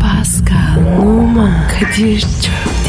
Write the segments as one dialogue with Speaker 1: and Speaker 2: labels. Speaker 1: Pascal, Oman, Kadir çok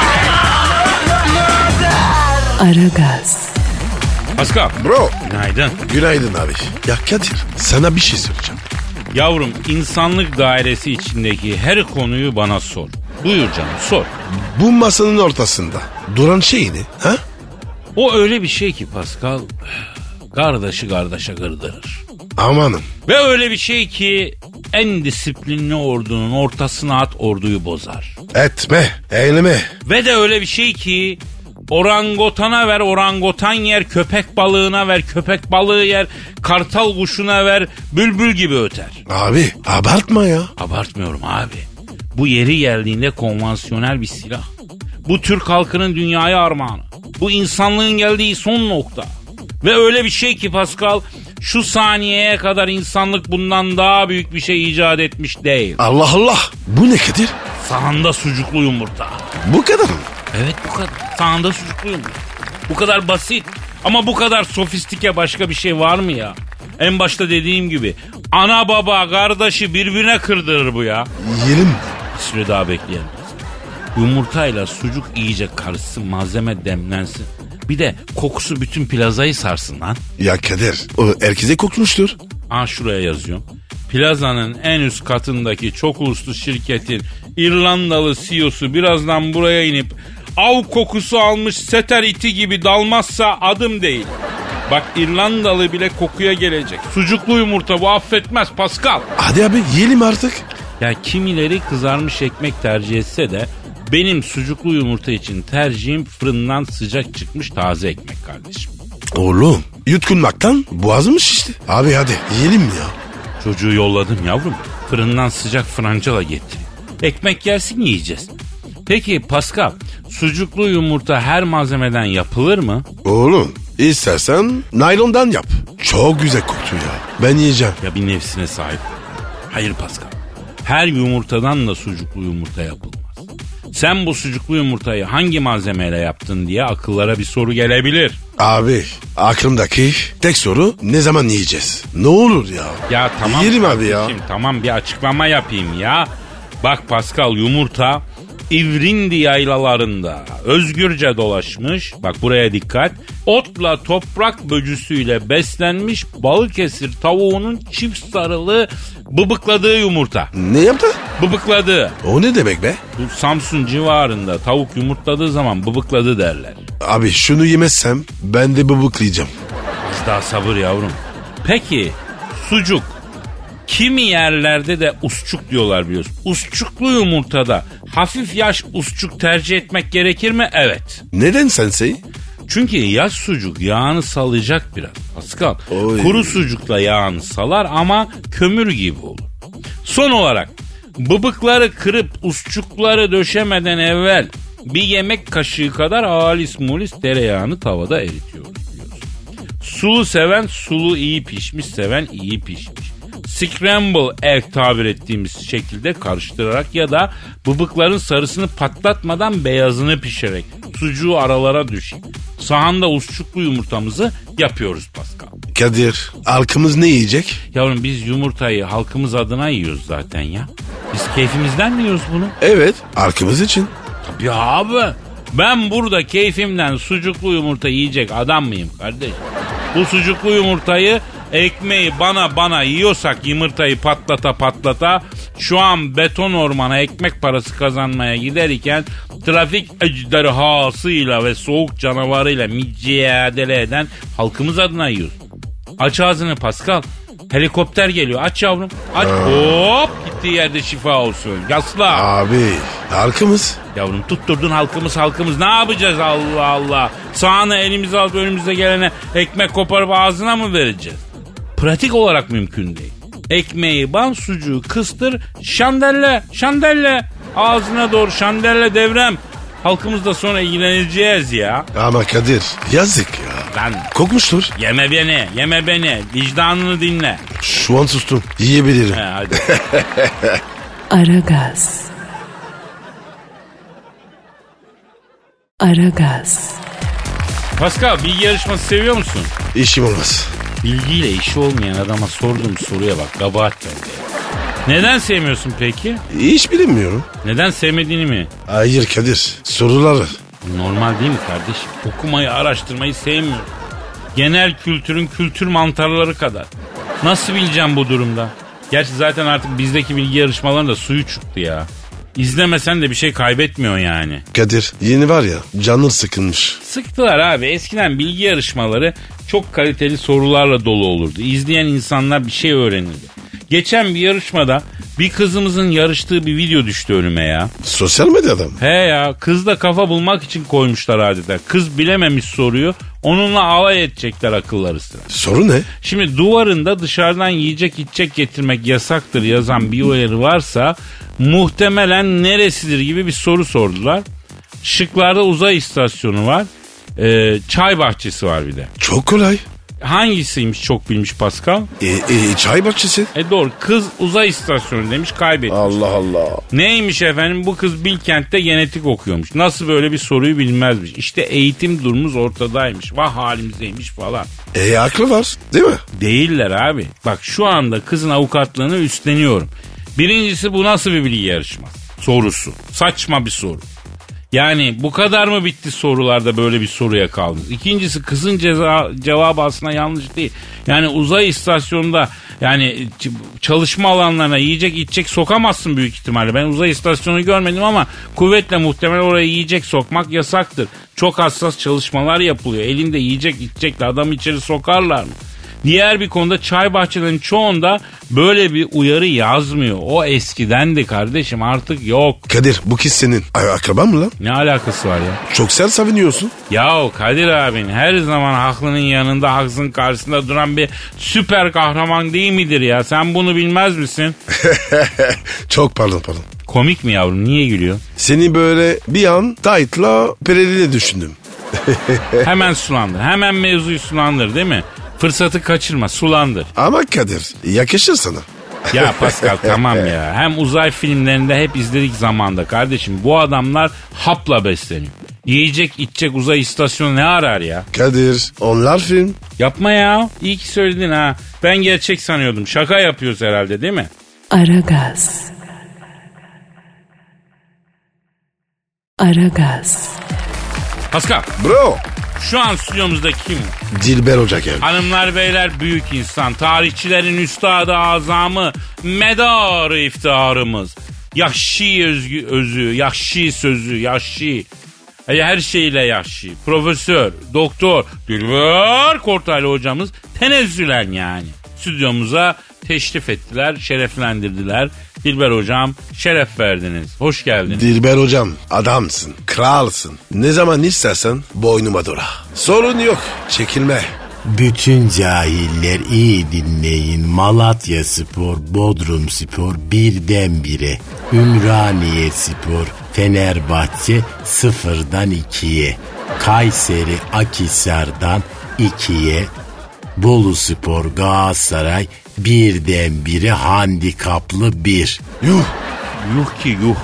Speaker 1: Aragaz,
Speaker 2: Pascal.
Speaker 3: Bro.
Speaker 2: Günaydın.
Speaker 3: Günaydın abi. Ya Kadir sana bir şey söyleyeceğim.
Speaker 2: Yavrum insanlık dairesi içindeki her konuyu bana sor. Buyur canım sor.
Speaker 3: Bu masanın ortasında duran şey ne? Ha?
Speaker 2: O öyle bir şey ki Pascal. Kardeşi kardeşe gırdırır.
Speaker 3: Amanın.
Speaker 2: Ve öyle bir şey ki en disiplinli ordunun ortasına at orduyu bozar.
Speaker 3: Etme. Eyleme.
Speaker 2: Ve de öyle bir şey ki orangotana ver orangotan yer, köpek balığına ver köpek balığı yer, kartal kuşuna ver bülbül gibi öter.
Speaker 3: Abi abartma ya.
Speaker 2: Abartmıyorum abi. Bu yeri geldiğinde konvansiyonel bir silah. Bu Türk halkının dünyaya armağanı. Bu insanlığın geldiği son nokta. Ve öyle bir şey ki Pascal şu saniyeye kadar insanlık bundan daha büyük bir şey icat etmiş değil.
Speaker 3: Allah Allah. Bu ne Kadir?
Speaker 2: Sahanda sucuklu yumurta.
Speaker 3: Bu kadar mı?
Speaker 2: Evet bu kadar. Sahanda sucuklu yumurta. Bu kadar basit. Ama bu kadar sofistike başka bir şey var mı ya? En başta dediğim gibi ana baba kardeşi birbirine kırdırır bu ya.
Speaker 3: Yiyelim.
Speaker 2: Bir süre daha bekleyelim. Yumurtayla sucuk iyice karışsın, malzeme demlensin. Bir de kokusu bütün plazayı sarsın lan.
Speaker 3: Ya Kadir o herkese kokmuştur.
Speaker 2: Aa şuraya yazıyorum. Plazanın en üst katındaki çok uluslu şirketin İrlandalı CEO'su birazdan buraya inip av kokusu almış seter iti gibi dalmazsa adım değil. Bak İrlandalı bile kokuya gelecek. Sucuklu yumurta bu affetmez Pascal.
Speaker 3: Hadi abi yiyelim artık.
Speaker 2: Ya kimileri kızarmış ekmek tercih etse de benim sucuklu yumurta için tercihim fırından sıcak çıkmış taze ekmek kardeşim.
Speaker 3: Oğlum yutkunmaktan boğazım şişti. Abi hadi yiyelim ya.
Speaker 2: Çocuğu yolladım yavrum. Fırından sıcak francala getir. Ekmek gelsin yiyeceğiz. Peki Pascal, sucuklu yumurta her malzemeden yapılır mı?
Speaker 3: Oğlum istersen naylondan yap. Çok güzel koktu ya. Ben yiyeceğim.
Speaker 2: Ya bir nefsine sahip. Hayır Pascal. Her yumurtadan da sucuklu yumurta yapılmaz. Sen bu sucuklu yumurtayı hangi malzemeyle yaptın diye akıllara bir soru gelebilir.
Speaker 3: Abi aklımdaki tek soru ne zaman yiyeceğiz? Ne olur ya.
Speaker 2: Ya tamam.
Speaker 3: Yerim abi ya.
Speaker 2: kardeşim, Tamam bir açıklama yapayım ya. Bak Pascal yumurta İvrindi yaylalarında özgürce dolaşmış, bak buraya dikkat, otla toprak böcüsüyle beslenmiş Balıkesir tavuğunun çift sarılı bıbıkladığı yumurta.
Speaker 3: Ne yaptı?
Speaker 2: Bıbıkladığı.
Speaker 3: O ne demek be?
Speaker 2: Bu Samsun civarında tavuk yumurtladığı zaman bıbıkladı derler.
Speaker 3: Abi şunu yemezsem ben de bıbıklayacağım.
Speaker 2: Az daha sabır yavrum. Peki sucuk. Kimi yerlerde de usçuk diyorlar biliyorsun. Usçuklu yumurtada hafif yaş usçuk tercih etmek gerekir mi? Evet.
Speaker 3: Neden sensei?
Speaker 2: Çünkü yaş sucuk yağını salacak biraz. Pascal.
Speaker 3: Oy.
Speaker 2: Kuru sucukla yağını salar ama kömür gibi olur. Son olarak bıbıkları kırıp usçukları döşemeden evvel bir yemek kaşığı kadar alis mulis tereyağını tavada eritiyoruz biliyorsun. Sulu seven sulu iyi pişmiş seven iyi pişmiş. Scramble egg tabir ettiğimiz şekilde karıştırarak ya da bıbıkların sarısını patlatmadan beyazını pişirerek sucuğu aralara düşeyim. Sahanda usçuklu yumurtamızı yapıyoruz Pascal.
Speaker 3: Kadir halkımız ne yiyecek?
Speaker 2: Yavrum biz yumurtayı halkımız adına yiyoruz zaten ya. Biz keyfimizden mi yiyoruz bunu?
Speaker 3: Evet halkımız için.
Speaker 2: Tabii abi. Ben burada keyfimden sucuklu yumurta yiyecek adam mıyım kardeş? Bu sucuklu yumurtayı ekmeği bana bana yiyorsak yumurtayı patlata patlata şu an beton ormana ekmek parası kazanmaya giderken trafik ejderhasıyla ve soğuk canavarıyla mücadele eden halkımız adına yiyoruz. Aç ağzını Pascal. Helikopter geliyor. Aç yavrum. Aç. Hop gittiği yerde şifa olsun. Yasla.
Speaker 3: Abi halkımız.
Speaker 2: Yavrum tutturdun halkımız halkımız ne yapacağız Allah Allah. Sağını elimize alıp önümüze gelene ekmek koparıp ağzına mı vereceğiz? Pratik olarak mümkün değil. Ekmeği ban sucuğu kıstır şandelle şandelle. Ağzına doğru şandelle devrem. Halkımızla sonra ilgileneceğiz ya.
Speaker 3: Ama Kadir yazık ya.
Speaker 2: Lan
Speaker 3: Kokmuştur.
Speaker 2: yeme beni, yeme beni. Vicdanını dinle.
Speaker 3: Şu an sustum. Yiyebilirim.
Speaker 2: He, hadi.
Speaker 1: Aragaz. Aragaz.
Speaker 2: Pascal bilgi yarışması seviyor musun?
Speaker 3: İşim olmaz.
Speaker 2: Bilgiyle işi olmayan adama sorduğum soruya bak kabahat bende. Neden sevmiyorsun peki?
Speaker 3: Hiç bilinmiyorum.
Speaker 2: Neden sevmediğini mi?
Speaker 3: Hayır Kadir. Soruları.
Speaker 2: Normal değil mi kardeşim? Okumayı, araştırmayı sevmiyorum. Genel kültürün kültür mantarları kadar. Nasıl bileceğim bu durumda? Gerçi zaten artık bizdeki bilgi yarışmalarında suyu çıktı ya. İzlemesen de bir şey kaybetmiyorsun yani.
Speaker 3: Kadir yeni var ya canın sıkılmış.
Speaker 2: Sıktılar abi. Eskiden bilgi yarışmaları çok kaliteli sorularla dolu olurdu. İzleyen insanlar bir şey öğrenirdi. Geçen bir yarışmada bir kızımızın yarıştığı bir video düştü önüme ya.
Speaker 3: Sosyal medyada mı?
Speaker 2: He ya kız da kafa bulmak için koymuşlar adeta. Kız bilememiş soruyu onunla alay edecekler akılları sıra.
Speaker 3: Soru ne?
Speaker 2: Şimdi duvarında dışarıdan yiyecek içecek getirmek yasaktır yazan bir uyarı varsa muhtemelen neresidir gibi bir soru sordular. Şıklarda uzay istasyonu var. Ee, çay bahçesi var bir de.
Speaker 3: Çok kolay.
Speaker 2: Hangisiymiş çok bilmiş Pascal?
Speaker 3: E, e, çay bahçesi.
Speaker 2: E doğru kız uzay istasyonu demiş kaybetti.
Speaker 3: Allah Allah.
Speaker 2: Neymiş efendim bu kız Bilkent'te genetik okuyormuş. Nasıl böyle bir soruyu bilmezmiş. İşte eğitim durumumuz ortadaymış. Vah halimizdeymiş falan.
Speaker 3: E aklı var değil mi?
Speaker 2: Değiller abi. Bak şu anda kızın avukatlığını üstleniyorum. Birincisi bu nasıl bir bilgi yarışması? Sorusu. Saçma bir soru. Yani bu kadar mı bitti sorularda böyle bir soruya kaldınız? İkincisi kızın ceza, cevabı aslında yanlış değil. Yani uzay istasyonunda yani ç- çalışma alanlarına yiyecek içecek sokamazsın büyük ihtimalle. Ben uzay istasyonu görmedim ama kuvvetle muhtemel oraya yiyecek sokmak yasaktır. Çok hassas çalışmalar yapılıyor. Elinde yiyecek içecekle adam içeri sokarlar mı? Diğer bir konuda çay bahçelerinin çoğunda böyle bir uyarı yazmıyor. O eskidendi kardeşim artık yok.
Speaker 3: Kadir bu kız senin. Ay, akraban mı lan?
Speaker 2: Ne alakası var ya?
Speaker 3: Çok sert savunuyorsun.
Speaker 2: Yahu Kadir abin her zaman haklının yanında haksın karşısında duran bir süper kahraman değil midir ya? Sen bunu bilmez misin?
Speaker 3: Çok pardon pardon.
Speaker 2: Komik mi yavrum niye gülüyor?
Speaker 3: Seni böyle bir an Tight'la Pereli'yle düşündüm.
Speaker 2: Hemen sulandır hemen mevzuyu sulandır değil mi? Fırsatı kaçırma sulandır.
Speaker 3: Ama Kadir yakışır sana.
Speaker 2: Ya Pascal tamam ya. Hem uzay filmlerinde hep izledik zamanda kardeşim. Bu adamlar hapla besleniyor. Yiyecek içecek uzay istasyonu ne arar ya?
Speaker 3: Kadir onlar film.
Speaker 2: Yapma ya. İyi ki söyledin ha. Ben gerçek sanıyordum. Şaka yapıyoruz herhalde değil mi?
Speaker 1: Aragaz. Aragaz.
Speaker 2: Pascal
Speaker 3: Bro.
Speaker 2: şu an stüdyomuzda kim? var?
Speaker 3: Dilber Hoca geldi.
Speaker 2: Hanımlar beyler büyük insan. Tarihçilerin üstadı azamı. Medarı iftiharımız. Yahşi özgü, özü, yahşi sözü, yahşi. E, Her şeyle yahşi. Profesör, doktor, Dilber Kortaylı hocamız tenezzülen yani. Stüdyomuza teşrif ettiler, şereflendirdiler. Dilber hocam şeref verdiniz. Hoş geldiniz.
Speaker 3: Dilber hocam adamsın, kralsın. Ne zaman istersen boynuma dola. Sorun yok, çekilme.
Speaker 4: Bütün cahiller iyi dinleyin. Malatya Spor, Bodrum Spor birdenbire. Ümraniye Spor, Fenerbahçe sıfırdan ikiye. Kayseri Akisar'dan ikiye. Bolu Spor, Galatasaray birdenbire handikaplı bir.
Speaker 3: Yuh.
Speaker 2: Yuh ki yuh.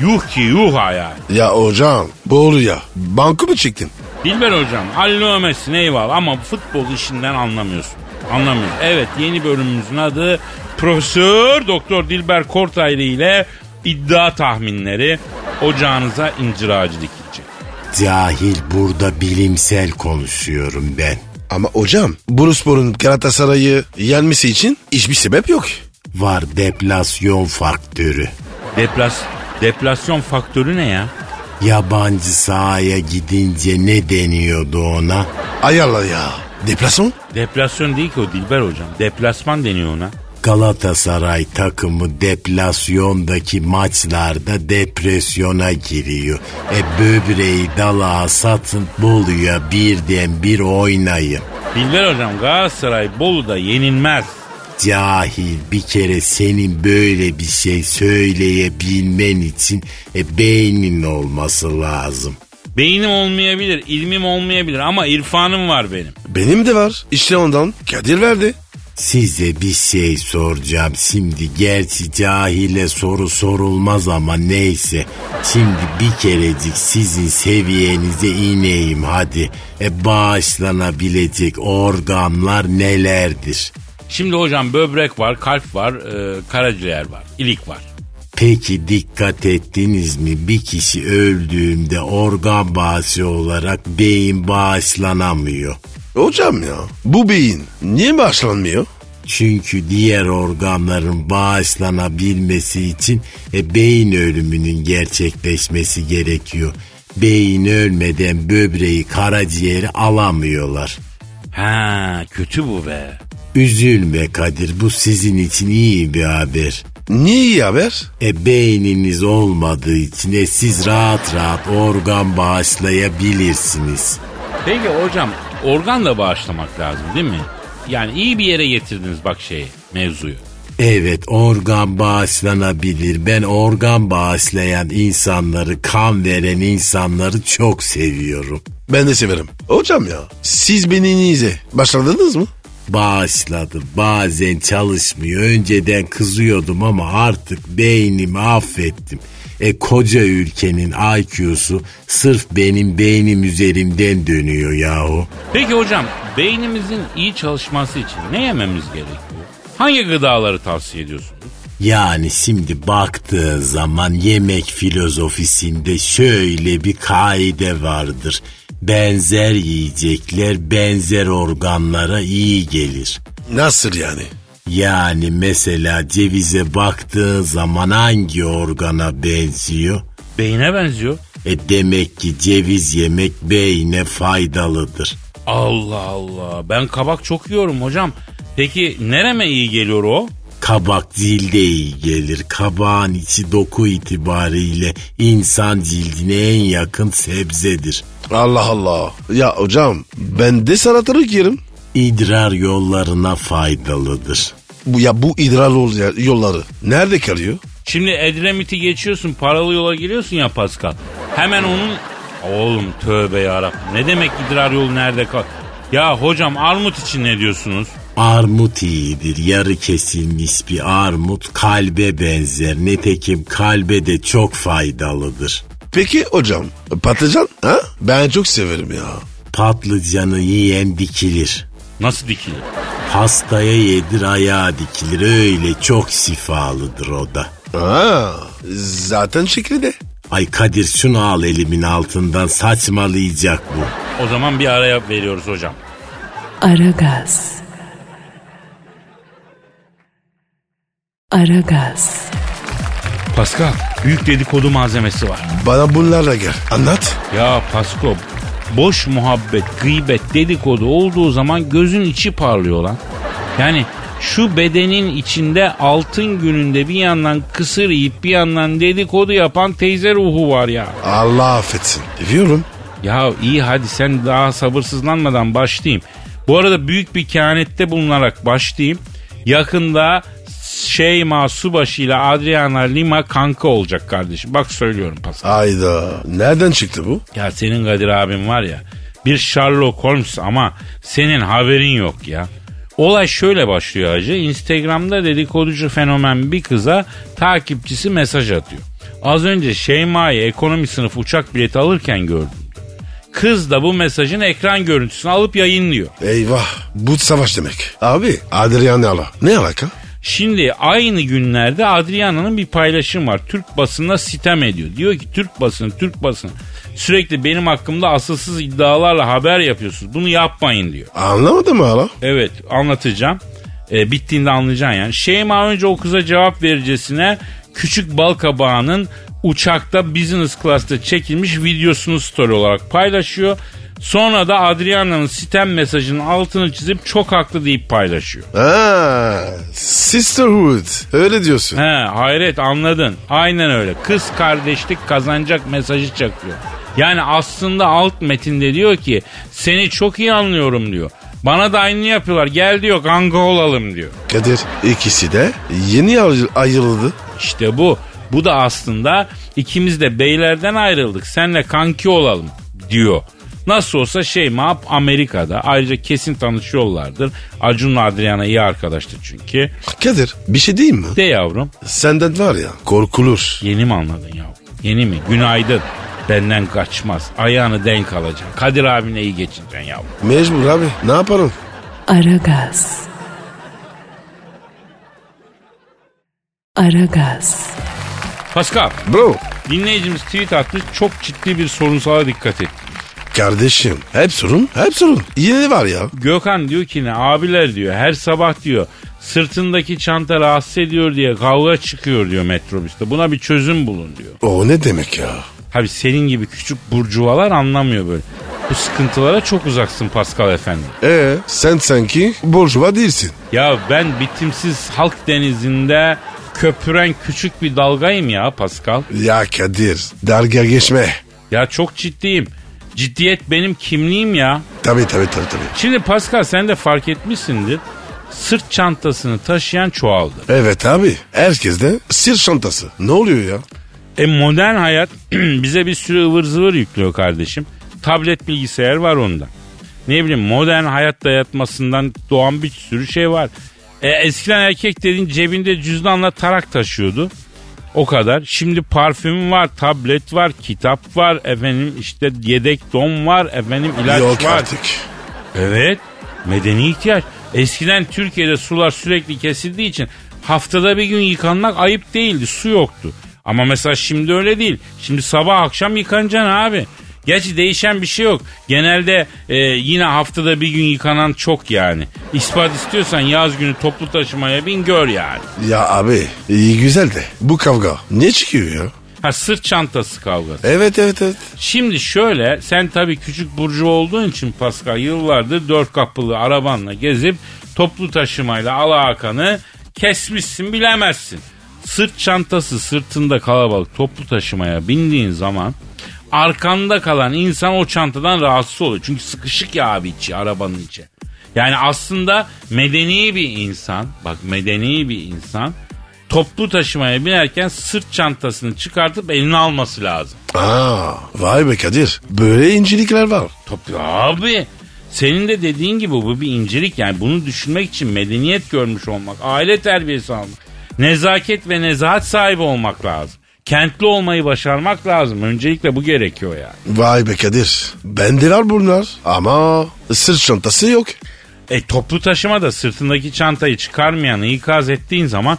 Speaker 2: Yuh ki yuh hayal.
Speaker 3: Ya hocam, boğulu ya. Banko mu çektin?
Speaker 2: Dilber hocam allomesin eyvallah ama futbol işinden anlamıyorsun. Anlamıyorum. Evet yeni bölümümüzün adı Profesör Doktor Dilber Kortaylı ile iddia tahminleri ocağınıza incir ağacı dikilecek.
Speaker 4: Cahil burada bilimsel konuşuyorum ben.
Speaker 3: Ama hocam, Bursaspor'un Galatasaray'ı yenmesi için hiçbir sebep yok.
Speaker 4: Var deplasyon faktörü.
Speaker 2: Deplas, deplasyon faktörü ne ya?
Speaker 4: Yabancı sahaya gidince ne deniyordu ona?
Speaker 3: Ay Allah ya. Deplasman?
Speaker 2: Deplasyon değil ki o Dilber hocam. Deplasman deniyor ona.
Speaker 4: Galatasaray takımı deplasyondaki maçlarda depresyona giriyor. E böbreği dalağa satın Bolu'ya birden bir oynayın.
Speaker 2: Dilber hocam Galatasaray Bolu'da yenilmez.
Speaker 5: cahil bir kere senin böyle bir şey söyleyebilmen için e, beynin olması lazım.
Speaker 2: Beynim olmayabilir, ilmim olmayabilir ama irfanım var benim.
Speaker 3: Benim de var. İşte ondan Kadir verdi.
Speaker 5: Size bir şey soracağım şimdi gerçi cahile soru sorulmaz ama neyse. Şimdi bir kerecik sizin seviyenize ineyim hadi. E bağışlanabilecek organlar nelerdir?
Speaker 2: Şimdi hocam böbrek var, kalp var, e, karaciğer var, ilik var.
Speaker 5: Peki dikkat ettiniz mi bir kişi öldüğünde organ bağışı olarak beyin bağışlanamıyor.
Speaker 3: Hocam ya bu beyin niye bağışlanmıyor?
Speaker 5: Çünkü diğer organların bağışlanabilmesi için e, beyin ölümünün gerçekleşmesi gerekiyor. Beyin ölmeden böbreği karaciğeri alamıyorlar.
Speaker 2: Ha kötü bu be.
Speaker 5: Üzülme Kadir bu sizin için iyi bir haber.
Speaker 3: Niye iyi haber?
Speaker 5: E beyniniz olmadığı için e, siz rahat rahat organ bağışlayabilirsiniz.
Speaker 2: Peki hocam organ da bağışlamak lazım değil mi? Yani iyi bir yere getirdiniz bak şeyi, mevzuyu.
Speaker 5: Evet organ bağışlanabilir. Ben organ bağışlayan insanları, kan veren insanları çok seviyorum.
Speaker 3: Ben de severim. Hocam ya siz beyninize başladınız mı?
Speaker 5: Bağışladım. Bazen çalışmıyor. Önceden kızıyordum ama artık beynimi affettim. E koca ülkenin IQ'su sırf benim beynim üzerimden dönüyor yahu.
Speaker 2: Peki hocam beynimizin iyi çalışması için ne yememiz gerekiyor? Hangi gıdaları tavsiye ediyorsunuz?
Speaker 5: Yani şimdi baktığı zaman yemek filozofisinde şöyle bir kaide vardır. Benzer yiyecekler benzer organlara iyi gelir.
Speaker 3: Nasıl yani?
Speaker 5: Yani mesela cevize baktığın zaman hangi organa benziyor?
Speaker 2: Beyine benziyor.
Speaker 5: E demek ki ceviz yemek beyne faydalıdır.
Speaker 2: Allah Allah ben kabak çok yiyorum hocam. Peki nereme iyi geliyor o?
Speaker 5: Kabak cilde iyi gelir. Kabağın içi doku itibariyle insan cildine en yakın sebzedir.
Speaker 3: Allah Allah. Ya hocam ben de salatalık yerim.
Speaker 5: İdrar yollarına faydalıdır.
Speaker 3: Bu ya bu idrar yol- yolları nerede kalıyor?
Speaker 2: Şimdi Edremit'i geçiyorsun paralı yola giriyorsun ya Pascal. Hemen onun... Oğlum tövbe yarabbim ne demek idrar yolu nerede kal... Ya hocam armut için ne diyorsunuz?
Speaker 5: Armut iyidir. Yarı kesilmiş bir armut kalbe benzer. Nitekim kalbe de çok faydalıdır.
Speaker 3: Peki hocam patlıcan ha? Ben çok severim ya.
Speaker 5: Patlıcanı yiyen dikilir.
Speaker 2: Nasıl dikilir?
Speaker 5: Hastaya yedir ayağa dikilir. Öyle çok şifalıdır o da.
Speaker 3: Aa, zaten şekli de.
Speaker 5: Ay Kadir şunu al elimin altından saçmalayacak bu.
Speaker 2: O zaman bir araya veriyoruz hocam.
Speaker 1: Aragaz. Aragaz.
Speaker 2: Pascal büyük dedikodu malzemesi var.
Speaker 3: Bana bunlarla gel. Anlat.
Speaker 2: Ya Pasko boş muhabbet, gıybet, dedikodu olduğu zaman gözün içi parlıyor lan. Yani şu bedenin içinde altın gününde bir yandan kısır yiyip bir yandan dedikodu yapan teyze ruhu var ya.
Speaker 3: Allah affetsin. Diyorum.
Speaker 2: Ya iyi hadi sen daha sabırsızlanmadan başlayayım. Bu arada büyük bir kehanette bulunarak başlayayım. Yakında Şeyma Subaşı ile Adriana Lima kanka olacak kardeşim. Bak söylüyorum pas.
Speaker 3: Ayda. Nereden çıktı bu?
Speaker 2: Ya senin Kadir abin var ya bir Sherlock Holmes ama senin haberin yok ya. Olay şöyle başlıyor hacı. Instagram'da dedikoducu fenomen bir kıza takipçisi mesaj atıyor. Az önce Şeyma'yı ekonomi sınıfı uçak bileti alırken gördüm. Kız da bu mesajın ekran görüntüsünü alıp yayınlıyor.
Speaker 3: Eyvah. Bu savaş demek. Abi Adriana ala. Ne alaka?
Speaker 2: Şimdi aynı günlerde Adriana'nın bir paylaşım var. Türk basınına sitem ediyor. Diyor ki Türk basını, Türk basını sürekli benim hakkımda asılsız iddialarla haber yapıyorsunuz. Bunu yapmayın diyor.
Speaker 3: Anlamadım mı ala?
Speaker 2: Evet anlatacağım. E, bittiğinde anlayacaksın yani. Şeyma önce o kıza cevap vericesine küçük bal kabağının uçakta business class'ta çekilmiş videosunu story olarak paylaşıyor. Sonra da Adriana'nın sitem mesajının altını çizip çok haklı deyip paylaşıyor.
Speaker 3: Ha, sisterhood. Öyle diyorsun.
Speaker 2: He hayret anladın. Aynen öyle. Kız kardeşlik kazanacak mesajı çakıyor. Yani aslında alt metinde diyor ki seni çok iyi anlıyorum diyor. Bana da aynı yapıyorlar. Gel diyor kanka olalım diyor.
Speaker 3: Kadir ikisi de yeni ayrı- ayrıldı.
Speaker 2: İşte bu. Bu da aslında ikimiz de beylerden ayrıldık. Senle kanki olalım diyor. Nasıl olsa şey map Amerika'da. Ayrıca kesin tanışıyorlardır. Acun'la Adriana iyi arkadaştır çünkü.
Speaker 3: Kadir bir şey diyeyim mi?
Speaker 2: De yavrum.
Speaker 3: Senden var ya korkulur.
Speaker 2: Yeni mi anladın yavrum? Yeni mi? Günaydın. Benden kaçmaz. Ayağını denk alacaksın. Kadir abine iyi geçineceksin yavrum.
Speaker 3: Mecbur abi ne yaparım?
Speaker 1: Aragaz. Aragaz.
Speaker 2: Pascal
Speaker 3: Bro
Speaker 2: dinleyicimiz tweet atmış. Çok ciddi bir sorunsala dikkat et.
Speaker 3: kardeşim hep sorun hep sorun. Yeni var ya.
Speaker 2: Gökhan diyor ki ne abiler diyor her sabah diyor sırtındaki çanta rahatsız ediyor diye kavga çıkıyor diyor metrobüste. Buna bir çözüm bulun diyor.
Speaker 3: O ne demek ya?
Speaker 2: Tabi senin gibi küçük burcuvalar anlamıyor böyle. Bu sıkıntılara çok uzaksın Pascal efendi.
Speaker 3: Ee sen sanki borcuva değilsin.
Speaker 2: Ya ben bitimsiz halk denizinde köpüren küçük bir dalgayım ya Pascal.
Speaker 3: Ya Kadir dergiye geçme.
Speaker 2: Ya çok ciddiyim. Ciddiyet benim kimliğim ya.
Speaker 3: Tabii tabii tabii tabii.
Speaker 2: Şimdi Pascal sen de fark etmişsindir. Sırt çantasını taşıyan çoğaldı.
Speaker 3: Evet abi herkes de sır çantası. Ne oluyor ya?
Speaker 2: E modern hayat bize bir sürü ıvır zıvır yüklüyor kardeşim. Tablet bilgisayar var onda. Ne bileyim modern hayat dayatmasından doğan bir sürü şey var. E, eskiden erkek dediğin cebinde cüzdanla tarak taşıyordu. O kadar. Şimdi parfüm var, tablet var, kitap var, efendim işte yedek don var, efendim ilaç
Speaker 3: Yok
Speaker 2: var.
Speaker 3: artık.
Speaker 2: Evet. Medeni ihtiyaç. Eskiden Türkiye'de sular sürekli kesildiği için haftada bir gün yıkanmak ayıp değildi. Su yoktu. Ama mesela şimdi öyle değil. Şimdi sabah akşam yıkanacaksın abi. Gerçi değişen bir şey yok. Genelde e, yine haftada bir gün yıkanan çok yani. İspat istiyorsan yaz günü toplu taşımaya bin gör yani.
Speaker 3: Ya abi iyi güzel de bu kavga ne çıkıyor ya?
Speaker 2: Ha sırt çantası kavgası.
Speaker 3: Evet evet evet.
Speaker 2: Şimdi şöyle sen tabii küçük burcu olduğun için Pascal yıllardır dört kapılı arabanla gezip toplu taşımayla alakanı kesmişsin bilemezsin. Sırt çantası sırtında kalabalık toplu taşımaya bindiğin zaman arkanda kalan insan o çantadan rahatsız oluyor. Çünkü sıkışık ya abi içi arabanın içi. Yani aslında medeni bir insan bak medeni bir insan toplu taşımaya binerken sırt çantasını çıkartıp eline alması lazım.
Speaker 3: Aa, vay be Kadir. Böyle incelikler var.
Speaker 2: Tabii abi. Senin de dediğin gibi bu bir incelik yani bunu düşünmek için medeniyet görmüş olmak, aile terbiyesi almak, nezaket ve nezahat sahibi olmak lazım. Kentli olmayı başarmak lazım. Öncelikle bu gerekiyor yani.
Speaker 3: Vay be Kadir. Bende var bunlar. Ama sırt çantası yok.
Speaker 2: E toplu taşımada sırtındaki çantayı çıkarmayanı ikaz ettiğin zaman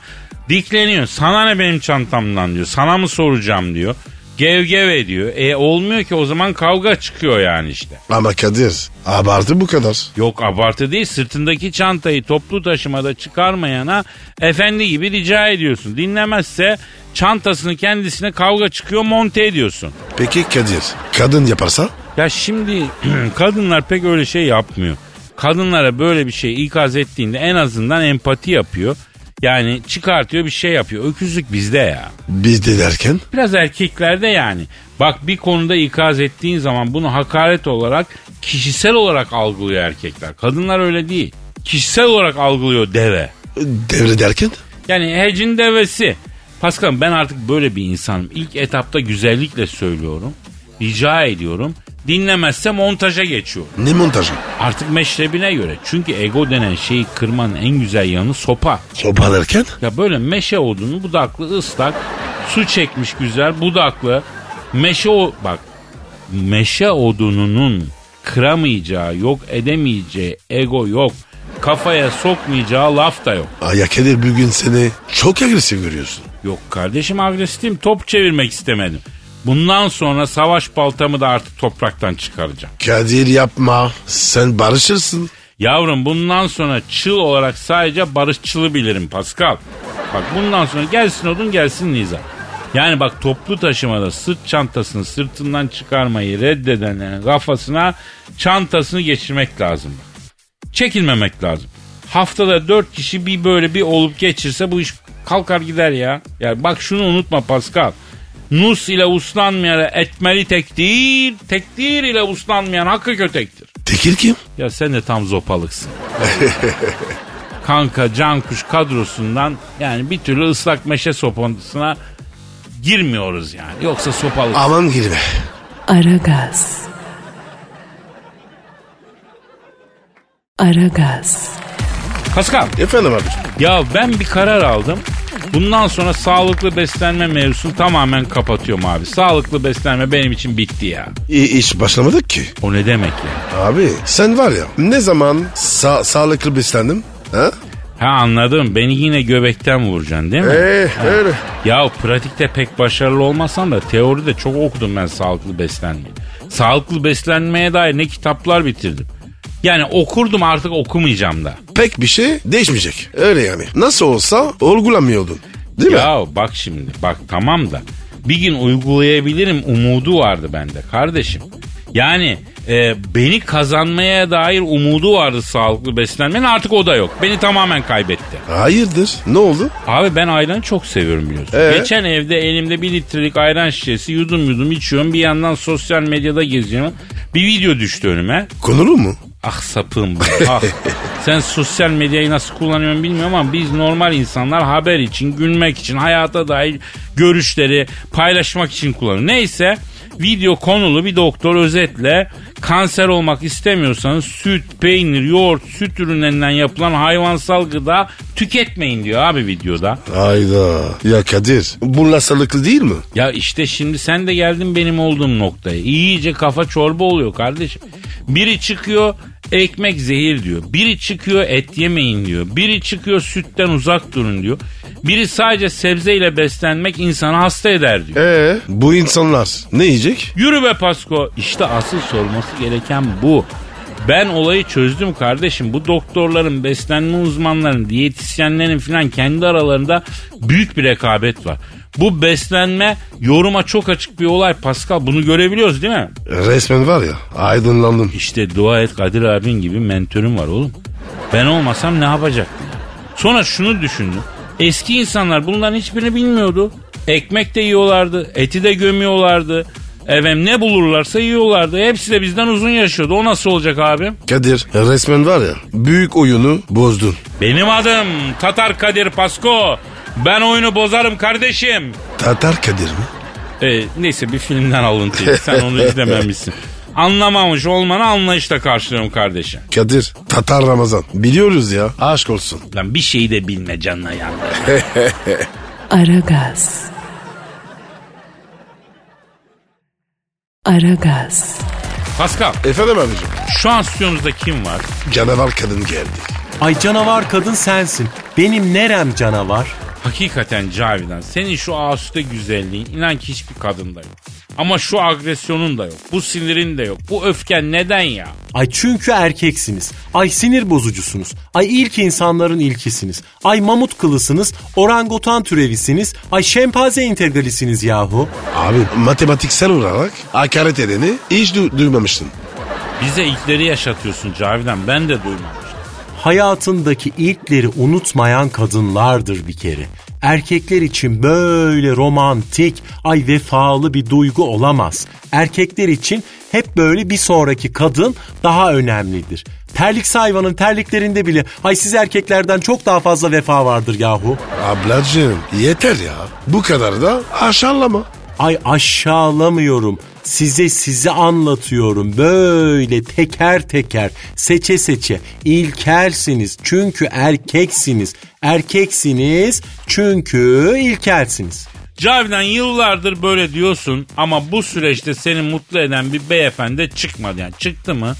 Speaker 2: dikleniyor. Sana ne benim çantamdan diyor. Sana mı soracağım diyor. Gevgev ediyor. E olmuyor ki o zaman kavga çıkıyor yani işte.
Speaker 3: Ama Kadir abartı bu kadar.
Speaker 2: Yok abartı değil sırtındaki çantayı toplu taşımada çıkarmayana efendi gibi rica ediyorsun. Dinlemezse çantasını kendisine kavga çıkıyor monte ediyorsun.
Speaker 3: Peki Kadir kadın yaparsa?
Speaker 2: Ya şimdi kadınlar pek öyle şey yapmıyor. Kadınlara böyle bir şey ikaz ettiğinde en azından empati yapıyor. Yani çıkartıyor bir şey yapıyor. Öküzlük bizde ya.
Speaker 3: Biz de derken
Speaker 2: Biraz erkeklerde yani. Bak bir konuda ikaz ettiğin zaman bunu hakaret olarak kişisel olarak algılıyor erkekler. Kadınlar öyle değil. Kişisel olarak algılıyor deve.
Speaker 3: devre derken?
Speaker 2: Yani hecin devesi. Pascal ben artık böyle bir insanım. İlk etapta güzellikle söylüyorum. Rica ediyorum. Dinlemezse montaja geçiyorum.
Speaker 3: Ne montajı?
Speaker 2: Artık meşrebine göre. Çünkü ego denen şeyi kırmanın en güzel yanı sopa.
Speaker 3: Sopa derken?
Speaker 2: Ya böyle meşe odunu budaklı ıslak su çekmiş güzel budaklı meşe o bak meşe odununun kıramayacağı yok edemeyeceği ego yok kafaya sokmayacağı laf da yok.
Speaker 3: Ay ya Kadir bugün seni çok agresif görüyorsun.
Speaker 2: Yok kardeşim agresifim top çevirmek istemedim. Bundan sonra savaş baltamı da artık topraktan çıkaracağım.
Speaker 3: Kadir yapma. Sen barışırsın.
Speaker 2: Yavrum bundan sonra çıl olarak sadece barışçılı bilirim Pascal. Bak bundan sonra gelsin odun gelsin Niza. Yani bak toplu taşımada sırt çantasını sırtından çıkarmayı reddedenlerin kafasına çantasını geçirmek lazım. Çekilmemek lazım. Haftada dört kişi bir böyle bir olup geçirse bu iş kalkar gider ya. Ya bak şunu unutma Pascal. Nus ile uslanmayan etmeli tektir, tektir ile uslanmayan hakkı kötektir.
Speaker 3: Tek Fakir kim?
Speaker 2: Ya sen de tam zopalıksın. Kanka Cankuş kadrosundan yani bir türlü ıslak meşe sopasına girmiyoruz yani. Yoksa sopalık.
Speaker 3: Aman girme.
Speaker 1: Aragaz. Aragaz.
Speaker 2: Paskal
Speaker 3: Efendim abi.
Speaker 2: ya ben bir karar aldım. Bundan sonra sağlıklı beslenme mevzusunu tamamen kapatıyorum abi. Sağlıklı beslenme benim için bitti ya.
Speaker 3: İ- iş başlamadık ki.
Speaker 2: O ne demek ya?
Speaker 3: Abi sen var ya ne zaman sa- sağlıklı beslendim? Ha?
Speaker 2: Ha anladım. Beni yine göbekten vuracaksın değil mi?
Speaker 3: Ee, öyle.
Speaker 2: Ya pratikte pek başarılı olmasam da teoride çok okudum ben sağlıklı beslenmeyi. Sağlıklı beslenmeye dair ne kitaplar bitirdim. Yani okurdum artık okumayacağım da.
Speaker 3: Pek bir şey değişmeyecek. Öyle yani. Nasıl olsa uygulamıyordun. Değil mi?
Speaker 2: ya bak şimdi bak tamam da bir gün uygulayabilirim umudu vardı bende kardeşim. Yani e, beni kazanmaya dair umudu vardı sağlıklı beslenmenin artık o da yok. Beni tamamen kaybetti.
Speaker 3: Hayırdır? Ne oldu?
Speaker 2: Abi ben ayranı çok seviyorum biliyorsun.
Speaker 3: Ee?
Speaker 2: Geçen evde elimde bir litrelik ayran şişesi yudum yudum içiyorum. Bir yandan sosyal medyada geziyorum. Bir video düştü önüme.
Speaker 3: Konulu mu?
Speaker 2: Ah sapığım be, ah. Sen sosyal medyayı nasıl kullanıyorsun bilmiyorum ama biz normal insanlar haber için, gülmek için, hayata dair görüşleri paylaşmak için kullanıyoruz. Neyse video konulu bir doktor özetle kanser olmak istemiyorsanız süt, peynir, yoğurt, süt ürünlerinden yapılan hayvansal gıda tüketmeyin diyor abi videoda.
Speaker 3: Hayda. Ya Kadir bunlar sağlıklı değil mi?
Speaker 2: Ya işte şimdi sen de geldin benim olduğum noktaya. İyice kafa çorba oluyor kardeşim. Biri çıkıyor ekmek zehir diyor. Biri çıkıyor et yemeyin diyor. Biri çıkıyor sütten uzak durun diyor. Biri sadece sebzeyle beslenmek insanı hasta eder diyor.
Speaker 3: Ee, bu insanlar ne yiyecek?
Speaker 2: Yürü be Pasko. İşte asıl sorması gereken bu. Ben olayı çözdüm kardeşim. Bu doktorların, beslenme uzmanlarının, diyetisyenlerin filan kendi aralarında büyük bir rekabet var. Bu beslenme yoruma çok açık bir olay Pascal. Bunu görebiliyoruz değil mi?
Speaker 3: Resmen var ya aydınlandım.
Speaker 2: İşte dua et Kadir abin gibi mentörüm var oğlum. Ben olmasam ne yapacaktım? Sonra şunu düşündüm. Eski insanlar bunların hiçbirini bilmiyordu. Ekmek de yiyorlardı, eti de gömüyorlardı. Efendim ne bulurlarsa yiyorlardı. Hepsi de bizden uzun yaşıyordu. O nasıl olacak abim?
Speaker 3: Kadir resmen var ya büyük oyunu bozdun.
Speaker 2: Benim adım Tatar Kadir Pasko. Ben oyunu bozarım kardeşim.
Speaker 3: Tatar Kadir mi?
Speaker 2: E, neyse bir filmden alıntı. Sen onu izlememişsin. Anlamamış olmanı anlayışla karşılıyorum kardeşim.
Speaker 3: Kadir Tatar Ramazan. Biliyoruz ya aşk olsun.
Speaker 2: Lan bir şeyi de bilme canına yandı.
Speaker 1: Aragaz. Aragaz.
Speaker 2: Pascal
Speaker 3: Efendim abicim.
Speaker 2: şu an stüdyomuzda kim var?
Speaker 3: Canavar kadın geldi.
Speaker 5: Ay canavar kadın sensin. Benim nerem canavar?
Speaker 2: Hakikaten Cavidan senin şu asude güzelliğin inan ki hiçbir kadında yok. Ama şu agresyonun da yok. Bu sinirin de yok. Bu öfken neden ya?
Speaker 5: Ay çünkü erkeksiniz. Ay sinir bozucusunuz. Ay ilk insanların ilkisiniz. Ay mamut kılısınız. Orangutan türevisiniz. Ay şempanze integralisiniz yahu.
Speaker 3: Abi matematiksel olarak hakaret edeni hiç du- duymamıştın.
Speaker 2: Bize ilkleri yaşatıyorsun Cavidan ben de duymamıştım.
Speaker 5: Hayatındaki ilkleri unutmayan kadınlardır bir kere. Erkekler için böyle romantik, ay vefalı bir duygu olamaz. Erkekler için hep böyle bir sonraki kadın daha önemlidir. Terlik hayvanın terliklerinde bile ay siz erkeklerden çok daha fazla vefa vardır yahu.
Speaker 3: Ablacığım yeter ya. Bu kadar da aşağılama.
Speaker 5: Ay aşağılamıyorum. Size sizi anlatıyorum. Böyle teker teker seçe seçe ilkelsiniz. Çünkü erkeksiniz. Erkeksiniz çünkü ilkelsiniz.
Speaker 2: Cavidan yıllardır böyle diyorsun ama bu süreçte seni mutlu eden bir beyefendi çıkmadı yani. Çıktı mı?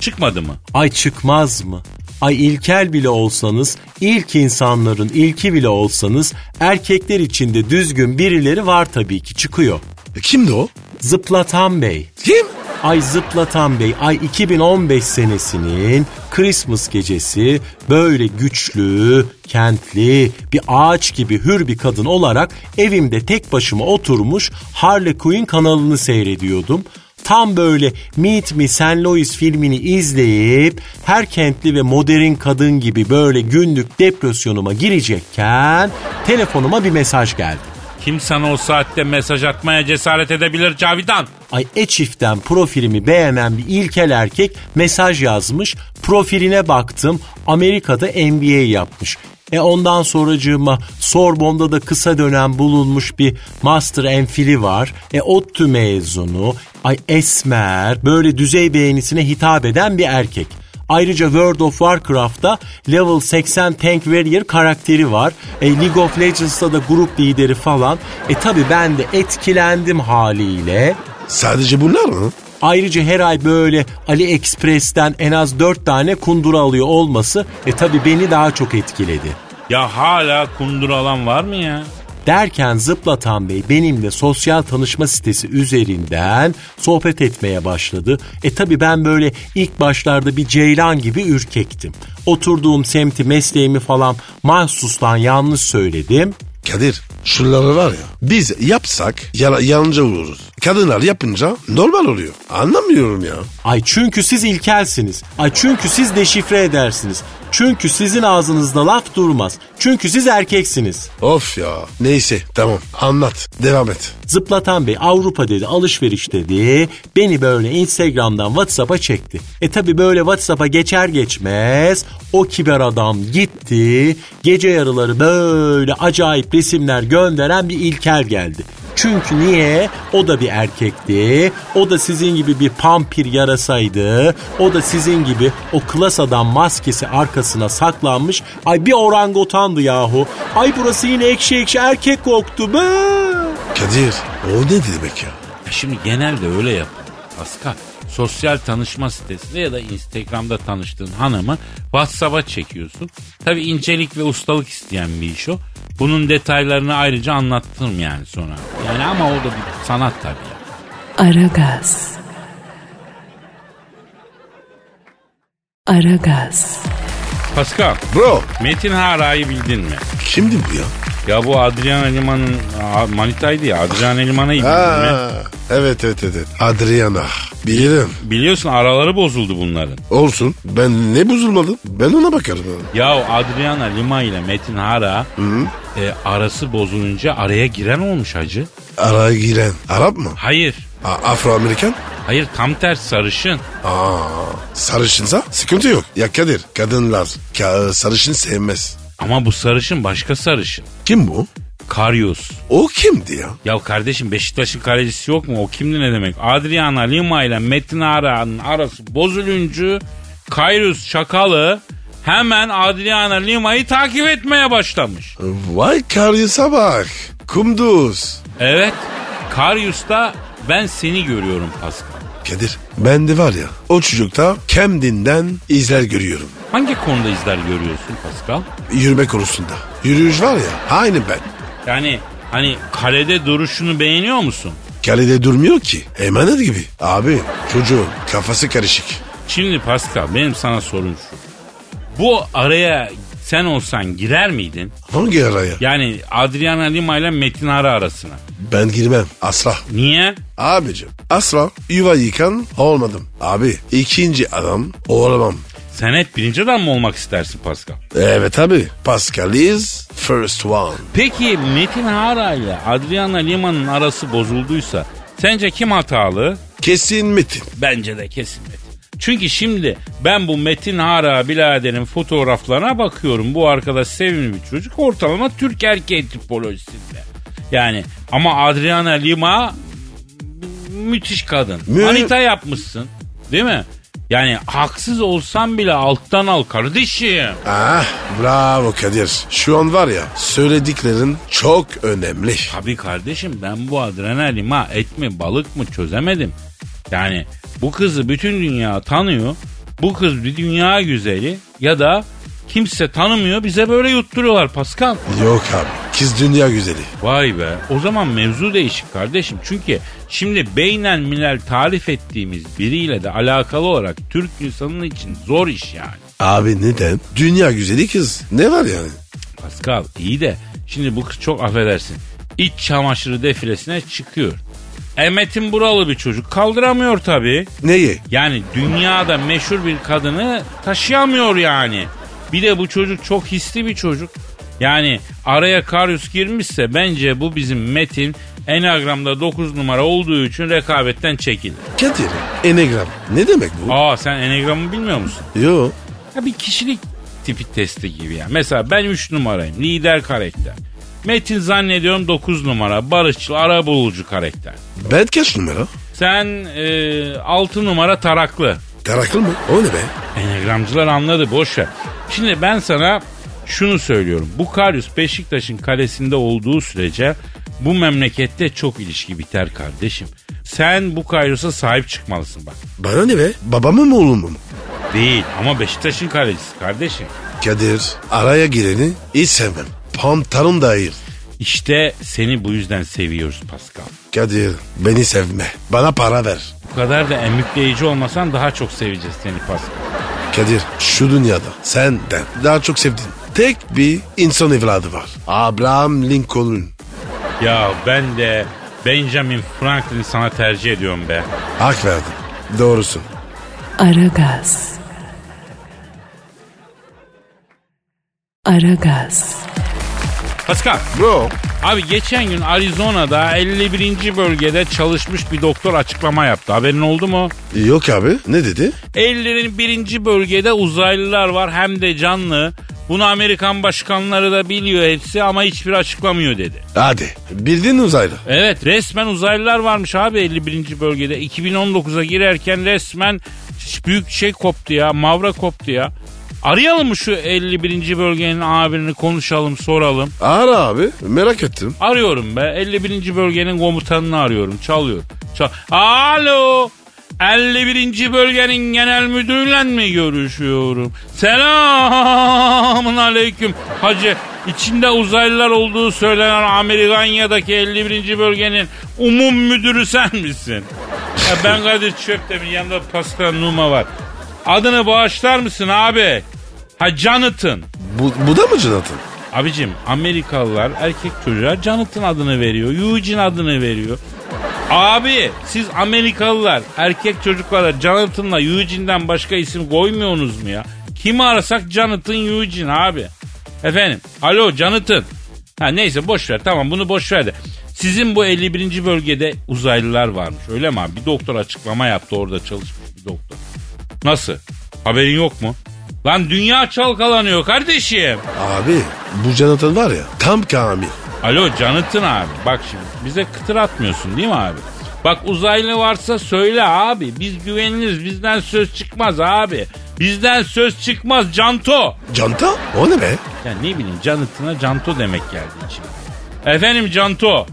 Speaker 2: Çıkmadı mı?
Speaker 5: Ay çıkmaz mı? Ay ilkel bile olsanız, ilk insanların ilki bile olsanız erkekler içinde düzgün birileri var tabii ki çıkıyor.
Speaker 3: E, Kimdi o?
Speaker 5: Zıplatan Bey.
Speaker 3: Kim?
Speaker 5: Ay Zıplatan Bey, ay 2015 senesinin Christmas gecesi böyle güçlü, kentli, bir ağaç gibi hür bir kadın olarak evimde tek başıma oturmuş Harley Quinn kanalını seyrediyordum. Tam böyle Meet Me St. Louis filmini izleyip her kentli ve modern kadın gibi böyle günlük depresyonuma girecekken telefonuma bir mesaj geldi.
Speaker 2: Kim sana o saatte mesaj atmaya cesaret edebilir Cavidan?
Speaker 5: Ay e çiftten profilimi beğenen bir ilkel erkek mesaj yazmış. Profiline baktım. Amerika'da MBA yapmış. E ondan sonracığıma Sorbon'da da kısa dönem bulunmuş bir master enfili var. E ODTÜ mezunu. Ay esmer, böyle düzey beğenisine hitap eden bir erkek. Ayrıca World of Warcraft'ta level 80 tank warrior karakteri var. E, League of Legends'ta da grup lideri falan. E tabi ben de etkilendim haliyle.
Speaker 3: Sadece bunlar mı?
Speaker 5: Ayrıca her ay böyle AliExpress'ten en az 4 tane kundura alıyor olması e tabi beni daha çok etkiledi.
Speaker 2: Ya hala kundur alan var mı ya?
Speaker 5: Derken Zıplatan Bey benimle sosyal tanışma sitesi üzerinden sohbet etmeye başladı. E tabi ben böyle ilk başlarda bir ceylan gibi ürkektim. Oturduğum semti mesleğimi falan mahsustan yanlış söyledim.
Speaker 3: Kadir şunları var ya biz yapsak yala, yanınca vururuz. Kadınlar yapınca normal oluyor. Anlamıyorum ya.
Speaker 5: Ay çünkü siz ilkelsiniz. Ay çünkü siz deşifre edersiniz. Çünkü sizin ağzınızda laf durmaz. Çünkü siz erkeksiniz.
Speaker 3: Of ya. Neyse tamam anlat devam et.
Speaker 5: Zıplatan Bey Avrupa dedi alışveriş dedi. Beni böyle Instagram'dan Whatsapp'a çekti. E tabi böyle Whatsapp'a geçer geçmez o kiber adam gitti. Gece yarıları böyle acayip resimler gönderen bir ilkel geldi. Çünkü niye? O da bir erkekti. O da sizin gibi bir pampir yarasaydı. O da sizin gibi o klas adam maskesi arkasına saklanmış. Ay bir orangotandı yahu. Ay burası yine ekşi ekşi erkek koktu be.
Speaker 3: Kadir o ne demek ya?
Speaker 2: Ya Şimdi genelde öyle yapın. Pascal sosyal tanışma sitesinde ya da Instagram'da tanıştığın hanımı WhatsApp'a çekiyorsun. Tabi incelik ve ustalık isteyen bir iş o. Bunun detaylarını ayrıca anlattım yani sonra. Yani ama o da bir sanat tabii.
Speaker 1: Aragaz. Aragaz.
Speaker 2: Pascal,
Speaker 3: Bro
Speaker 2: Metin Hara'yı bildin mi?
Speaker 3: kimdi bu ya?
Speaker 2: Ya bu Adrian Eliman'ın Aa, manitaydı ya. Adrian Eliman'ı bildin mi?
Speaker 3: Ha, evet evet evet. Adriana. Bilirim.
Speaker 2: Biliyorsun araları bozuldu bunların.
Speaker 3: Olsun. Ben ne bozulmadım? Ben ona bakarım. abi.
Speaker 2: Ya Adriana Lima ile Metin Hara e, arası bozulunca araya giren olmuş hacı.
Speaker 3: Araya giren. Arap mı?
Speaker 2: Hayır.
Speaker 3: A- Afro-Amerikan?
Speaker 2: Hayır tam tersi sarışın.
Speaker 3: Aa, sarışınsa sıkıntı yok. Ya Kadir kadınlar ka- sarışın sevmez.
Speaker 2: Ama bu sarışın başka sarışın.
Speaker 3: Kim bu?
Speaker 2: Karyos.
Speaker 3: O kimdi ya?
Speaker 2: Ya kardeşim Beşiktaş'ın kalecisi yok mu? O kimdi ne demek? Adriana Lima ile Metin Ara'nın arası bozulunca Kayrus Çakalı hemen Adriana Lima'yı takip etmeye başlamış.
Speaker 3: Vay karyasa bak. Kumduz.
Speaker 2: Evet. Karyus da ben seni görüyorum Pascal.
Speaker 3: Kadir ben de var ya o çocukta Camden'den izler görüyorum.
Speaker 2: Hangi konuda izler görüyorsun Pascal?
Speaker 3: Yürüme konusunda. Yürüyüş var ya aynı ben.
Speaker 2: Yani hani kalede duruşunu beğeniyor musun?
Speaker 3: Kalede durmuyor ki. Emanet gibi. Abi çocuğun kafası karışık.
Speaker 2: Şimdi Pascal benim sana sorum şu. Bu araya sen olsan girer miydin?
Speaker 3: Hangi araya?
Speaker 2: Yani Adriana Lima ile Metin Ara arasına.
Speaker 3: Ben girmem asla.
Speaker 2: Niye?
Speaker 3: Abicim asla yuva yıkan olmadım. Abi ikinci adam olamam.
Speaker 2: Sen hep birinci adam mı olmak istersin Pascal?
Speaker 3: Evet abi. Pascal is first one.
Speaker 2: Peki Metin Hara ile Adriana Lima'nın arası bozulduysa sence kim hatalı?
Speaker 3: Kesin metin.
Speaker 2: Bence de kesin Metin. Çünkü şimdi ben bu Metin Hara biraderin fotoğraflarına bakıyorum. Bu arkadaş sevimli bir çocuk. Ortalama Türk erkeği tipolojisinde. Yani ama Adriana Lima müthiş kadın.
Speaker 3: Mü-
Speaker 2: Manita yapmışsın. Değil mi? Yani haksız olsan bile alttan al kardeşim.
Speaker 3: Ah bravo Kadir. Şu an var ya söylediklerin çok önemli.
Speaker 2: Tabii kardeşim ben bu adrenalin ha et mi balık mı çözemedim. Yani bu kızı bütün dünya tanıyor. Bu kız bir dünya güzeli ya da kimse tanımıyor bize böyle yutturuyorlar Pascal.
Speaker 3: Yok abi. Kız dünya güzeli.
Speaker 2: Vay be o zaman mevzu değişik kardeşim. Çünkü şimdi beynen milel tarif ettiğimiz biriyle de alakalı olarak Türk insanının için zor iş yani.
Speaker 3: Abi neden? Dünya güzeli kız. Ne var yani?
Speaker 2: Pascal iyi de şimdi bu kız çok affedersin. İç çamaşırı defilesine çıkıyor. Emet'in buralı bir çocuk kaldıramıyor tabii.
Speaker 3: Neyi?
Speaker 2: Yani dünyada meşhur bir kadını taşıyamıyor yani. Bir de bu çocuk çok hisli bir çocuk. Yani araya Karius girmişse bence bu bizim Metin Enagram'da 9 numara olduğu için rekabetten çekildi.
Speaker 3: Kadir, enegram. Ne demek bu?
Speaker 2: Aa sen Enagram'ı bilmiyor musun?
Speaker 3: Yo.
Speaker 2: Ya bir kişilik tipi testi gibi ya. Mesela ben 3 numarayım. Lider karakter. Metin zannediyorum 9 numara. Barışçıl, ara bulucu karakter.
Speaker 3: Ben kaç numara?
Speaker 2: Sen 6 numara taraklı.
Speaker 3: Karakol mı? O ne be?
Speaker 2: Enegramcılar anladı boş ver. Şimdi ben sana şunu söylüyorum. Bu Karius Beşiktaş'ın kalesinde olduğu sürece bu memlekette çok ilişki biter kardeşim. Sen bu Karius'a sahip çıkmalısın bak.
Speaker 3: Bana ne be? Babamı mı oğlumu mu?
Speaker 2: Değil ama Beşiktaş'ın kalecisi kardeşim.
Speaker 3: Kadir, araya gireni hiç sevmem. Pantolon dahil.
Speaker 2: İşte seni bu yüzden seviyoruz Pascal.
Speaker 3: Kadir, beni sevme. Bana para ver.
Speaker 2: Bu kadar da emükleyici olmasan daha çok seveceğiz seni Pascal.
Speaker 3: Kadir, şu dünyada senden daha çok sevdiğim tek bir insan evladı var. Abraham Lincoln.
Speaker 2: Ya ben de Benjamin Franklin'i sana tercih ediyorum be.
Speaker 3: Hak verdim. Doğrusun.
Speaker 1: Aragaz. Aragaz.
Speaker 2: Pascal.
Speaker 3: Bro.
Speaker 2: Abi geçen gün Arizona'da 51. bölgede çalışmış bir doktor açıklama yaptı. Haberin oldu mu?
Speaker 3: Yok abi. Ne dedi?
Speaker 2: 51. bölgede uzaylılar var hem de canlı. Bunu Amerikan başkanları da biliyor hepsi ama hiçbir açıklamıyor dedi.
Speaker 3: Hadi. Bildin uzaylı.
Speaker 2: Evet resmen uzaylılar varmış abi 51. bölgede. 2019'a girerken resmen büyük şey koptu ya mavra koptu ya. Arayalım mı şu 51. bölgenin abirini konuşalım soralım.
Speaker 3: Ara abi. Merak ettim.
Speaker 2: Arıyorum be. 51. bölgenin komutanını arıyorum. Çalıyor. Çal Alo. 51. bölgenin genel müdürüyle mi görüşüyorum? Selamun aleyküm. Hacı içinde uzaylılar olduğu söylenen Amerikanya'daki 51. bölgenin umum müdürü sen misin? Ya ben Kadir Çöptemir yanında Pascal Numa var. Adını bağışlar mısın abi? Ha Jonathan.
Speaker 3: Bu, bu da mı Jonathan?
Speaker 2: Abicim Amerikalılar erkek çocuğa Jonathan adını veriyor. Eugene adını veriyor. Abi siz Amerikalılar erkek çocuklara Jonathan'la Eugene'den başka isim koymuyorsunuz mu ya? Kimi arasak Jonathan Eugene abi. Efendim alo Jonathan. Ha neyse boş ver tamam bunu boş ver de. Sizin bu 51. bölgede uzaylılar varmış öyle mi abi? Bir doktor açıklama yaptı orada çalışmış bir doktor. Nasıl? Haberin yok mu? Lan dünya çalkalanıyor kardeşim.
Speaker 3: Abi bu Jonathan var ya tam kamil.
Speaker 2: Alo Canıt'ın abi bak şimdi bize kıtır atmıyorsun değil mi abi? Bak uzaylı varsa söyle abi biz güveniriz bizden söz çıkmaz abi. Bizden söz çıkmaz Canto.
Speaker 3: Canta? O ne be?
Speaker 2: Ya ne bileyim Canıt'ına Canto demek geldi için. Efendim Canto.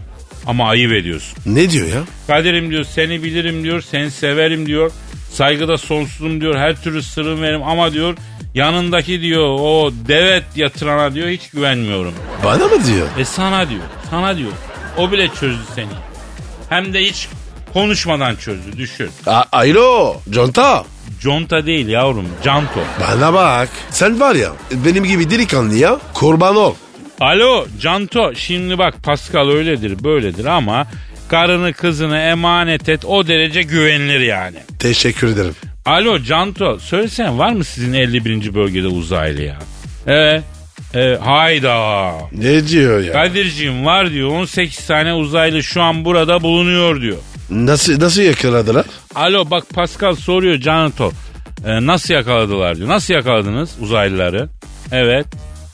Speaker 2: Ama ayıp ediyorsun.
Speaker 3: Ne diyor ya?
Speaker 2: Kadir'im diyor seni bilirim diyor seni severim diyor. Saygıda sonsuzum diyor her türlü sırrım verim ama diyor yanındaki diyor o devet yatırana diyor hiç güvenmiyorum.
Speaker 3: Bana mı diyor?
Speaker 2: E sana diyor. Sana diyor. O bile çözdü seni. Hem de hiç konuşmadan çözdü. Düşün.
Speaker 3: A Alo Canta.
Speaker 2: Conta değil yavrum. Canto.
Speaker 3: Bana bak. Sen var ya benim gibi delikanlı ya. Kurban ol.
Speaker 2: Alo Canto. Şimdi bak Pascal öyledir böyledir ama karını kızını emanet et o derece güvenilir yani.
Speaker 3: Teşekkür ederim.
Speaker 2: Alo Canto söylesene var mı sizin 51. bölgede uzaylı ya? Evet. Evet, hayda.
Speaker 3: Ne diyor ya?
Speaker 2: Kadir'ciğim var diyor 18 tane uzaylı şu an burada bulunuyor diyor.
Speaker 3: Nasıl nasıl yakaladılar?
Speaker 2: Alo bak Pascal soruyor Canto. Ee, nasıl yakaladılar diyor. Nasıl yakaladınız uzaylıları? Evet.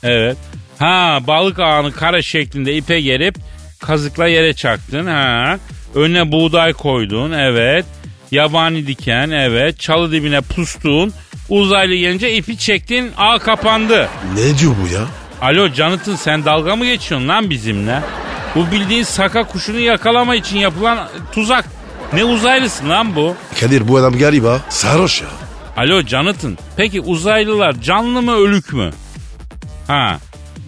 Speaker 2: Evet. Ha balık ağını kare şeklinde ipe gerip kazıkla yere çaktın. Ha. Önüne buğday koydun. Evet. Yabani diken. Evet. Çalı dibine pustuğun. Uzaylı gelince ipi çektin. Ağ kapandı.
Speaker 3: Ne diyor bu ya?
Speaker 2: Alo Canıt'ın sen dalga mı geçiyorsun lan bizimle? Bu bildiğin saka kuşunu yakalama için yapılan tuzak. Ne uzaylısın lan bu?
Speaker 3: Kadir bu adam galiba sarhoş ya.
Speaker 2: Alo Canıt'ın. Peki uzaylılar canlı mı ölük mü? Ha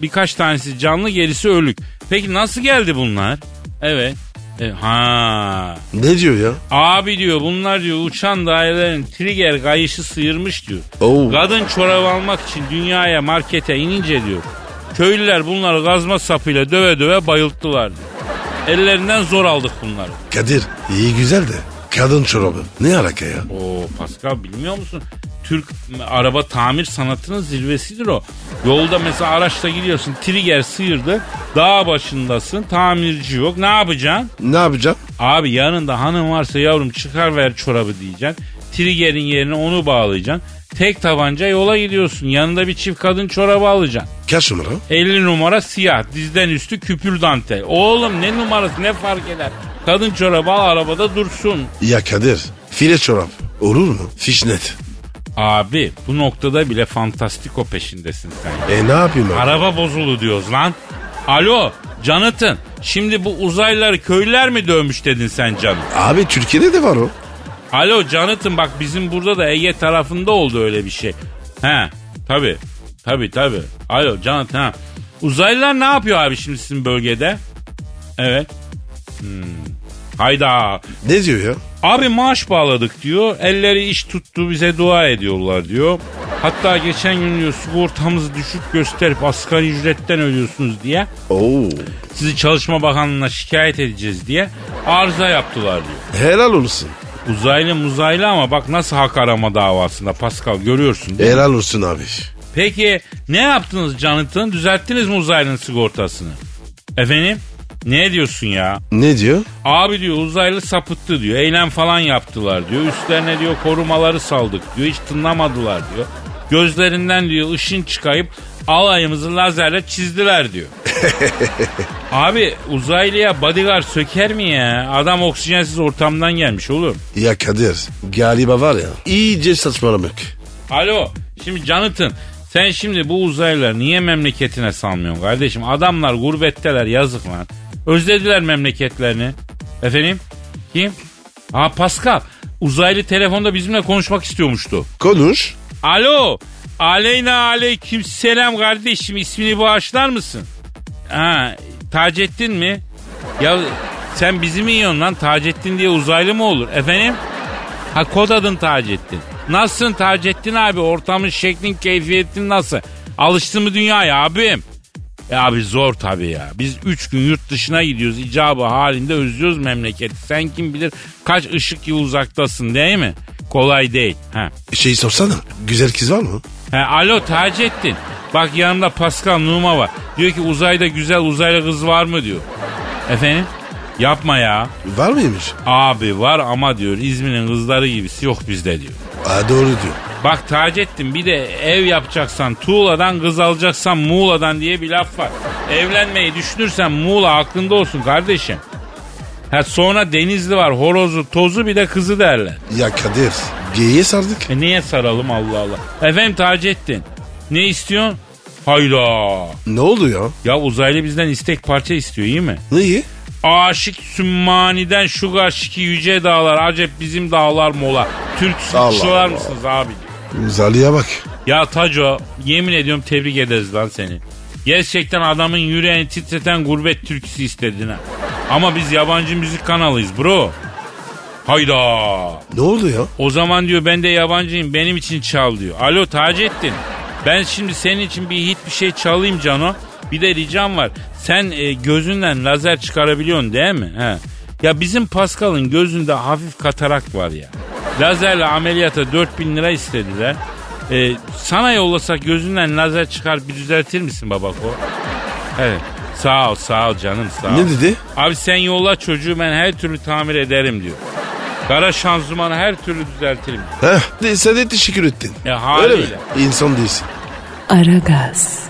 Speaker 2: birkaç tanesi canlı gerisi ölük. Peki nasıl geldi bunlar? Evet. E, ha.
Speaker 3: Ne diyor ya?
Speaker 2: Abi diyor bunlar diyor uçan dairelerin trigger kayışı sıyırmış diyor.
Speaker 3: Oo.
Speaker 2: Kadın çorabı almak için dünyaya markete inince diyor. Köylüler bunları gazma sapıyla döve döve bayılttılar diyor. Ellerinden zor aldık bunları.
Speaker 3: Kadir iyi güzel de kadın çorabı. Ne alaka ya?
Speaker 2: Oo Pascal bilmiyor musun? Türk araba tamir sanatının zirvesidir o. Yolda mesela araçla gidiyorsun trigger sıyırdı. Dağ başındasın tamirci yok. Ne yapacaksın?
Speaker 3: Ne yapacağım?
Speaker 2: Abi yanında hanım varsa yavrum çıkar ver çorabı diyeceksin. Trigger'in yerine onu bağlayacaksın. Tek tabanca yola gidiyorsun. Yanında bir çift kadın çorabı alacaksın.
Speaker 3: Kaç numara?
Speaker 2: 50 numara siyah. Dizden üstü küpür dantel. Oğlum ne numarası ne fark eder? Kadın çorabı al arabada dursun.
Speaker 3: Ya Kadir file çorap olur mu? Fişnet.
Speaker 2: Abi bu noktada bile fantastiko peşindesin sen.
Speaker 3: E ne yapayım abi?
Speaker 2: Araba bozulu diyoruz lan. Alo Canıtın. Şimdi bu uzaylıları köylüler mi dövmüş dedin sen canım?
Speaker 3: Abi Türkiye'de de var o.
Speaker 2: Alo Canıtın bak bizim burada da Ege tarafında oldu öyle bir şey. He tabi tabi tabi. Alo Canıtın ha. Uzaylılar ne yapıyor abi şimdi sizin bölgede? Evet. Hmm. Hayda.
Speaker 3: Ne diyor ya?
Speaker 2: Abi maaş bağladık diyor. Elleri iş tuttu bize dua ediyorlar diyor. Hatta geçen gün diyor sigortamızı düşük gösterip asgari ücretten ödüyorsunuz diye.
Speaker 3: Oo.
Speaker 2: Sizi Çalışma Bakanlığı'na şikayet edeceğiz diye arıza yaptılar diyor.
Speaker 3: Helal olsun.
Speaker 2: Uzaylı muzaylı ama bak nasıl hak arama davasında Pascal görüyorsun değil mi?
Speaker 3: Helal olsun abi.
Speaker 2: Peki ne yaptınız Canıt'ın? Düzelttiniz mi uzaylının sigortasını? Efendim? Ne diyorsun ya?
Speaker 3: Ne diyor?
Speaker 2: Abi diyor uzaylı sapıttı diyor. Eylem falan yaptılar diyor. Üstlerine diyor korumaları saldık diyor. Hiç tınlamadılar diyor. Gözlerinden diyor ışın çıkayıp alayımızı lazerle çizdiler diyor. Abi uzaylıya bodyguard söker mi ya? Adam oksijensiz ortamdan gelmiş oğlum.
Speaker 3: Ya Kadir galiba var ya iyice saçmalamak.
Speaker 2: Alo şimdi Canıt'ın sen şimdi bu uzaylıları niye memleketine salmıyorsun kardeşim? Adamlar gurbetteler yazık lan. Özlediler memleketlerini. Efendim? Kim? Ha Pascal. Uzaylı telefonda bizimle konuşmak istiyormuştu.
Speaker 3: Konuş.
Speaker 2: Alo. Aleyna aleyküm selam kardeşim. İsmini bağışlar mısın? Ha Taceddin mi? Ya sen bizi mi yiyorsun lan? Taceddin diye uzaylı mı olur? Efendim? Ha kod adın Taceddin. Nasılsın Taceddin abi? Ortamın şeklin keyfiyetin nasıl? Alıştın mı dünyaya abim? E abi zor tabii ya. Biz üç gün yurt dışına gidiyoruz. icabı halinde özlüyoruz memleketi. Sen kim bilir kaç ışık yılı uzaktasın değil mi? Kolay değil. Ha.
Speaker 3: Şeyi sorsana. Güzel kız var mı?
Speaker 2: He, alo Taceddin. Bak yanımda Pascal Numa var. Diyor ki uzayda güzel uzaylı kız var mı diyor. Efendim? Yapma ya.
Speaker 3: Var mıymış?
Speaker 2: Abi var ama diyor İzmir'in kızları gibisi yok bizde diyor.
Speaker 3: Aa, doğru diyor.
Speaker 2: Bak Taceddin bir de ev yapacaksan Tuğla'dan kız alacaksan Muğla'dan diye bir laf var. Evlenmeyi düşünürsen Muğla aklında olsun kardeşim. Ha sonra Denizli var horozu tozu bir de kızı derler.
Speaker 3: Ya Kadir geyiğe sardık.
Speaker 2: E niye saralım Allah Allah. Efendim Taceddin ne istiyorsun? Hayda.
Speaker 3: Ne oldu ya?
Speaker 2: Ya uzaylı bizden istek parça istiyor iyi mi?
Speaker 3: Neyi?
Speaker 2: Aşık Sümmani'den şu karşıki yüce dağlar acep bizim dağlar mola. Türk
Speaker 3: Allah
Speaker 2: sıkıştılar
Speaker 3: Allah.
Speaker 2: mısınız abi?
Speaker 3: Zaliye bak.
Speaker 2: Ya Taco yemin ediyorum tebrik ederiz lan seni. Gerçekten adamın yüreğini titreten gurbet türküsü istedin ha. Ama biz yabancı müzik kanalıyız bro. Hayda.
Speaker 3: Ne oldu ya?
Speaker 2: O zaman diyor ben de yabancıyım benim için çal diyor. Alo Taceddin. Ben şimdi senin için bir hit bir şey çalayım Cano. Bir de ricam var. Sen e, gözünden lazer çıkarabiliyorsun değil mi? He. Ya bizim Pascal'ın gözünde hafif katarak var ya. Lazerle ameliyata 4000 lira istediler. E, sana yollasak gözünden lazer çıkar bir düzeltir misin babako? Evet. Sağ ol sağ ol canım sağ ol.
Speaker 3: Ne dedi?
Speaker 2: Abi sen yolla çocuğu ben her türlü tamir ederim diyor. Kara şanzımanı her türlü düzeltirim.
Speaker 3: Heh, de- sen de teşekkür ettin.
Speaker 2: E, haliyle.
Speaker 3: Öyle mi? İnsan değilsin.
Speaker 1: Aragaz.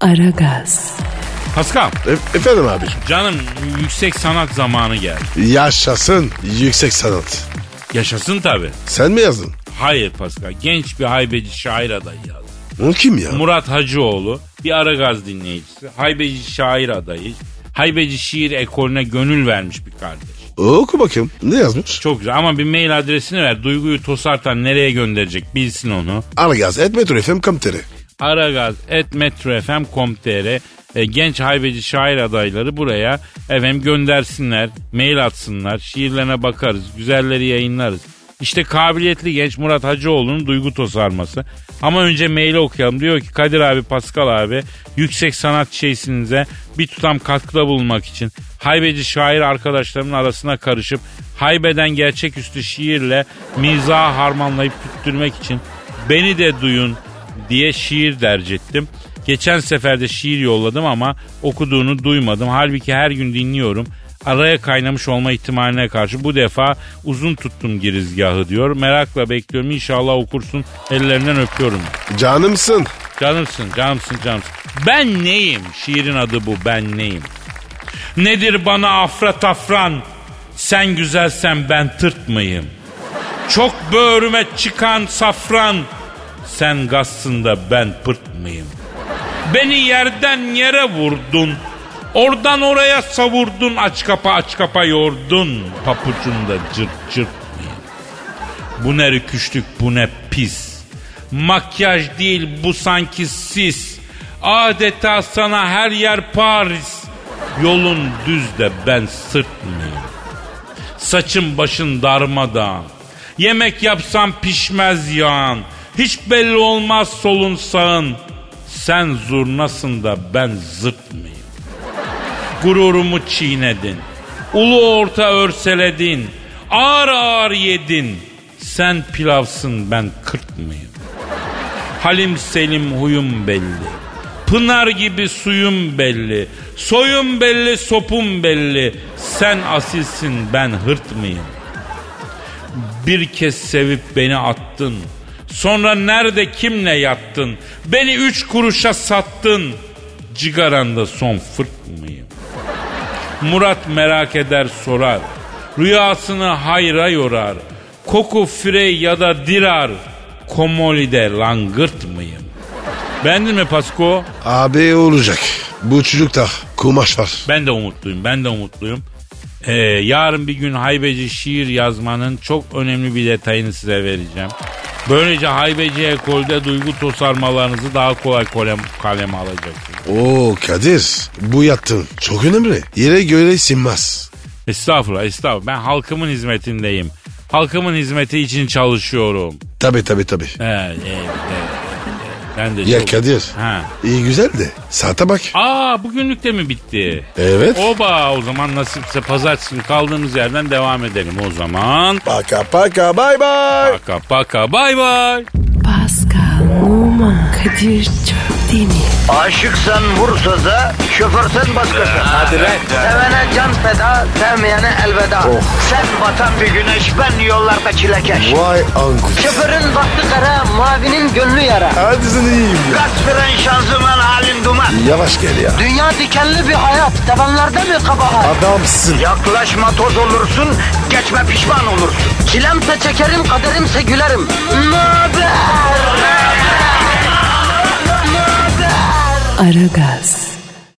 Speaker 1: Aragaz.
Speaker 2: Paskal
Speaker 3: E- efendim abi.
Speaker 2: canım yüksek sanat zamanı geldi.
Speaker 3: Yaşasın yüksek sanat.
Speaker 2: Yaşasın tabi.
Speaker 3: Sen mi yazdın?
Speaker 2: Hayır Paskal genç bir haybeci şair adayı yazdı.
Speaker 3: O kim ya?
Speaker 2: Murat Hacıoğlu bir Aragaz dinleyicisi. Haybeci şair adayı. Haybeci şiir ekolüne gönül vermiş bir kardeş.
Speaker 3: Oku bakayım. Ne yazmış?
Speaker 2: Çok güzel ama bir mail adresini ver. Duyguyu tosartan nereye gönderecek bilsin onu.
Speaker 3: Aragaz et metro FM kamteri.
Speaker 2: aragaz.metrofm.com.tr e, genç haybeci şair adayları buraya efendim göndersinler, mail atsınlar, şiirlerine bakarız, güzelleri yayınlarız. İşte kabiliyetli genç Murat Hacıoğlu'nun duygu tosarması. Ama önce maili okuyalım. Diyor ki Kadir abi, Pascal abi yüksek sanat şeysinize bir tutam katkıda bulunmak için haybeci şair arkadaşlarımın arasına karışıp haybeden gerçeküstü şiirle mizahı harmanlayıp tüttürmek için beni de duyun diye şiir derc ettim. Geçen sefer de şiir yolladım ama okuduğunu duymadım. Halbuki her gün dinliyorum. Araya kaynamış olma ihtimaline karşı bu defa uzun tuttum girizgahı diyor. Merakla bekliyorum inşallah okursun. Ellerinden öpüyorum.
Speaker 3: Canımsın.
Speaker 2: Canımsın, canımsın, canımsın. Ben neyim? Şiirin adı bu, ben neyim? Nedir bana afra tafran? Sen güzelsen ben tırt mıyım? Çok böğrüme çıkan safran. Sen gazsın da ben pırt mıyım? Beni yerden yere vurdun. Oradan oraya savurdun. Aç kapa aç kapa yordun. Papucunda cırt cırt mıyım? Bu ne rüküşlük bu ne pis. Makyaj değil bu sanki sis. Adeta sana her yer Paris. Yolun düz de ben sırt mıyım? Saçın başın darmadağın. Yemek yapsam pişmez yağan. Hiç belli olmaz solun sağın. Sen zurnasın da ben zırt mıyım? gururumu çiğnedin. Ulu orta örseledin. Ağır ağır yedin. Sen pilavsın ben kırt mıyım? Halim Selim huyum belli. Pınar gibi suyum belli. Soyum belli, sopum belli. Sen asilsin ben hırt mıyım? Bir kez sevip beni attın. Sonra nerede kimle yattın? Beni üç kuruşa sattın. Cigaranda son fırt mıyım? Murat merak eder sorar. Rüyasını hayra yorar. Koku frey ya da dirar. Komolide langırt mıyım? Beğendin mi Pasko?
Speaker 3: Abi olacak. Bu çocukta kumaş var.
Speaker 2: Ben de umutluyum, ben de umutluyum. Ee, yarın bir gün haybeci şiir yazmanın çok önemli bir detayını size vereceğim. Böylece haybeci ekolde duygu tosarmalarınızı daha kolay kalem, kaleme alacaksınız.
Speaker 3: Oo Kadir bu yattın. Çok önemli. Yere göre sinmez.
Speaker 2: Estağfurullah, estağfurullah. Ben halkımın hizmetindeyim. Halkımın hizmeti için çalışıyorum.
Speaker 3: Tabi tabi tabi.
Speaker 2: e, Evet, evet, evet, evet. Ben de
Speaker 3: Ya
Speaker 2: çok-
Speaker 3: Kadir.
Speaker 2: Ha.
Speaker 3: İyi güzel de saate bak.
Speaker 2: Aa bugünlük de mi bitti?
Speaker 3: Evet.
Speaker 2: Oba o zaman nasipse pazartesi günü kaldığımız yerden devam edelim o zaman.
Speaker 3: Paka paka bay bay.
Speaker 2: Paka paka bay bay.
Speaker 1: Pascal, Oman, Kadir çok değil mi?
Speaker 6: Aşıksan vursa da, şoförsen başkasın. Hadi
Speaker 7: lan.
Speaker 6: Sevene can feda, sevmeyene elveda. Sen batan bir güneş, ben yollarda çilekeş.
Speaker 3: Vay anku.
Speaker 6: Şoförün baktı kara, mavinin gönlü yara.
Speaker 3: Hadi sen iyiyim ya.
Speaker 6: Kasperen şanzıman halin duman.
Speaker 3: Yavaş gel ya.
Speaker 6: Dünya dikenli bir hayat, sevenlerde mi kabahar?
Speaker 3: Adamsın.
Speaker 6: Yaklaşma toz olursun, geçme pişman olursun. Çilemse çekerim, kaderimse gülerim. Möber!
Speaker 1: Aragaz.